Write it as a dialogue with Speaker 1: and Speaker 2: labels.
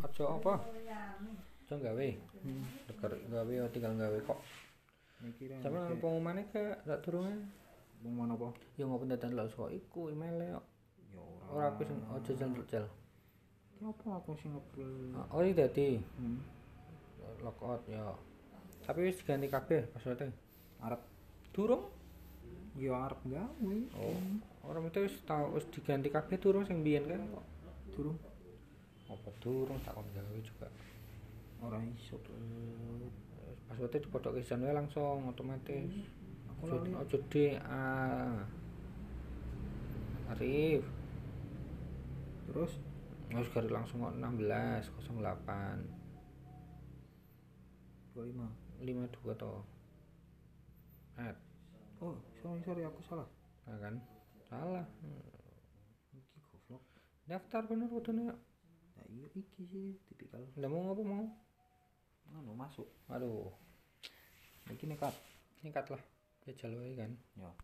Speaker 1: kerja apa? Hmm. Kerja gawe. Deker gawe oh, tinggal gawe kok.
Speaker 2: Mikire.
Speaker 1: Tapi nang pengumumannya ke tak turunnya.
Speaker 2: Wong mana apa?
Speaker 1: Ya ngopo dadan lek sok iku email kok.
Speaker 2: Ya ora.
Speaker 1: Ora aku sing ojo jel-jel.
Speaker 2: Ki apa aku sing ngeblel.
Speaker 1: Oh, iki dadi
Speaker 2: Hmm.
Speaker 1: lockout ya. Tapi wis diganti kabeh passwordnya.
Speaker 2: Arep
Speaker 1: Durung?
Speaker 2: ya arep gawe.
Speaker 1: Oh. Orang itu wis tau wis diganti kabeh durung sing biyen kan kok.
Speaker 2: Durung
Speaker 1: Apa durung tak kon gawe juga.
Speaker 2: ora iso.
Speaker 1: Passwordnya dipodok kisan wae langsung otomatis.
Speaker 2: Aku
Speaker 1: Ojo
Speaker 2: lali.
Speaker 1: ojo D A. ah. Arif.
Speaker 2: Terus
Speaker 1: Harus garis langsung kok 16 08
Speaker 2: 25.
Speaker 1: 52 to. At,
Speaker 2: Oh, sorry sorry aku salah.
Speaker 1: nah kan? Salah. Hmm.
Speaker 2: Iki goblok.
Speaker 1: Daftar bener kudune. kok.
Speaker 2: Nah, iya iki sih tipikal
Speaker 1: Ndak mau ngapa mau?
Speaker 2: ngono masuk.
Speaker 1: Aduh,
Speaker 2: Iki nekat.
Speaker 1: singkat lah. Ya jalo wae kan.
Speaker 2: Ya.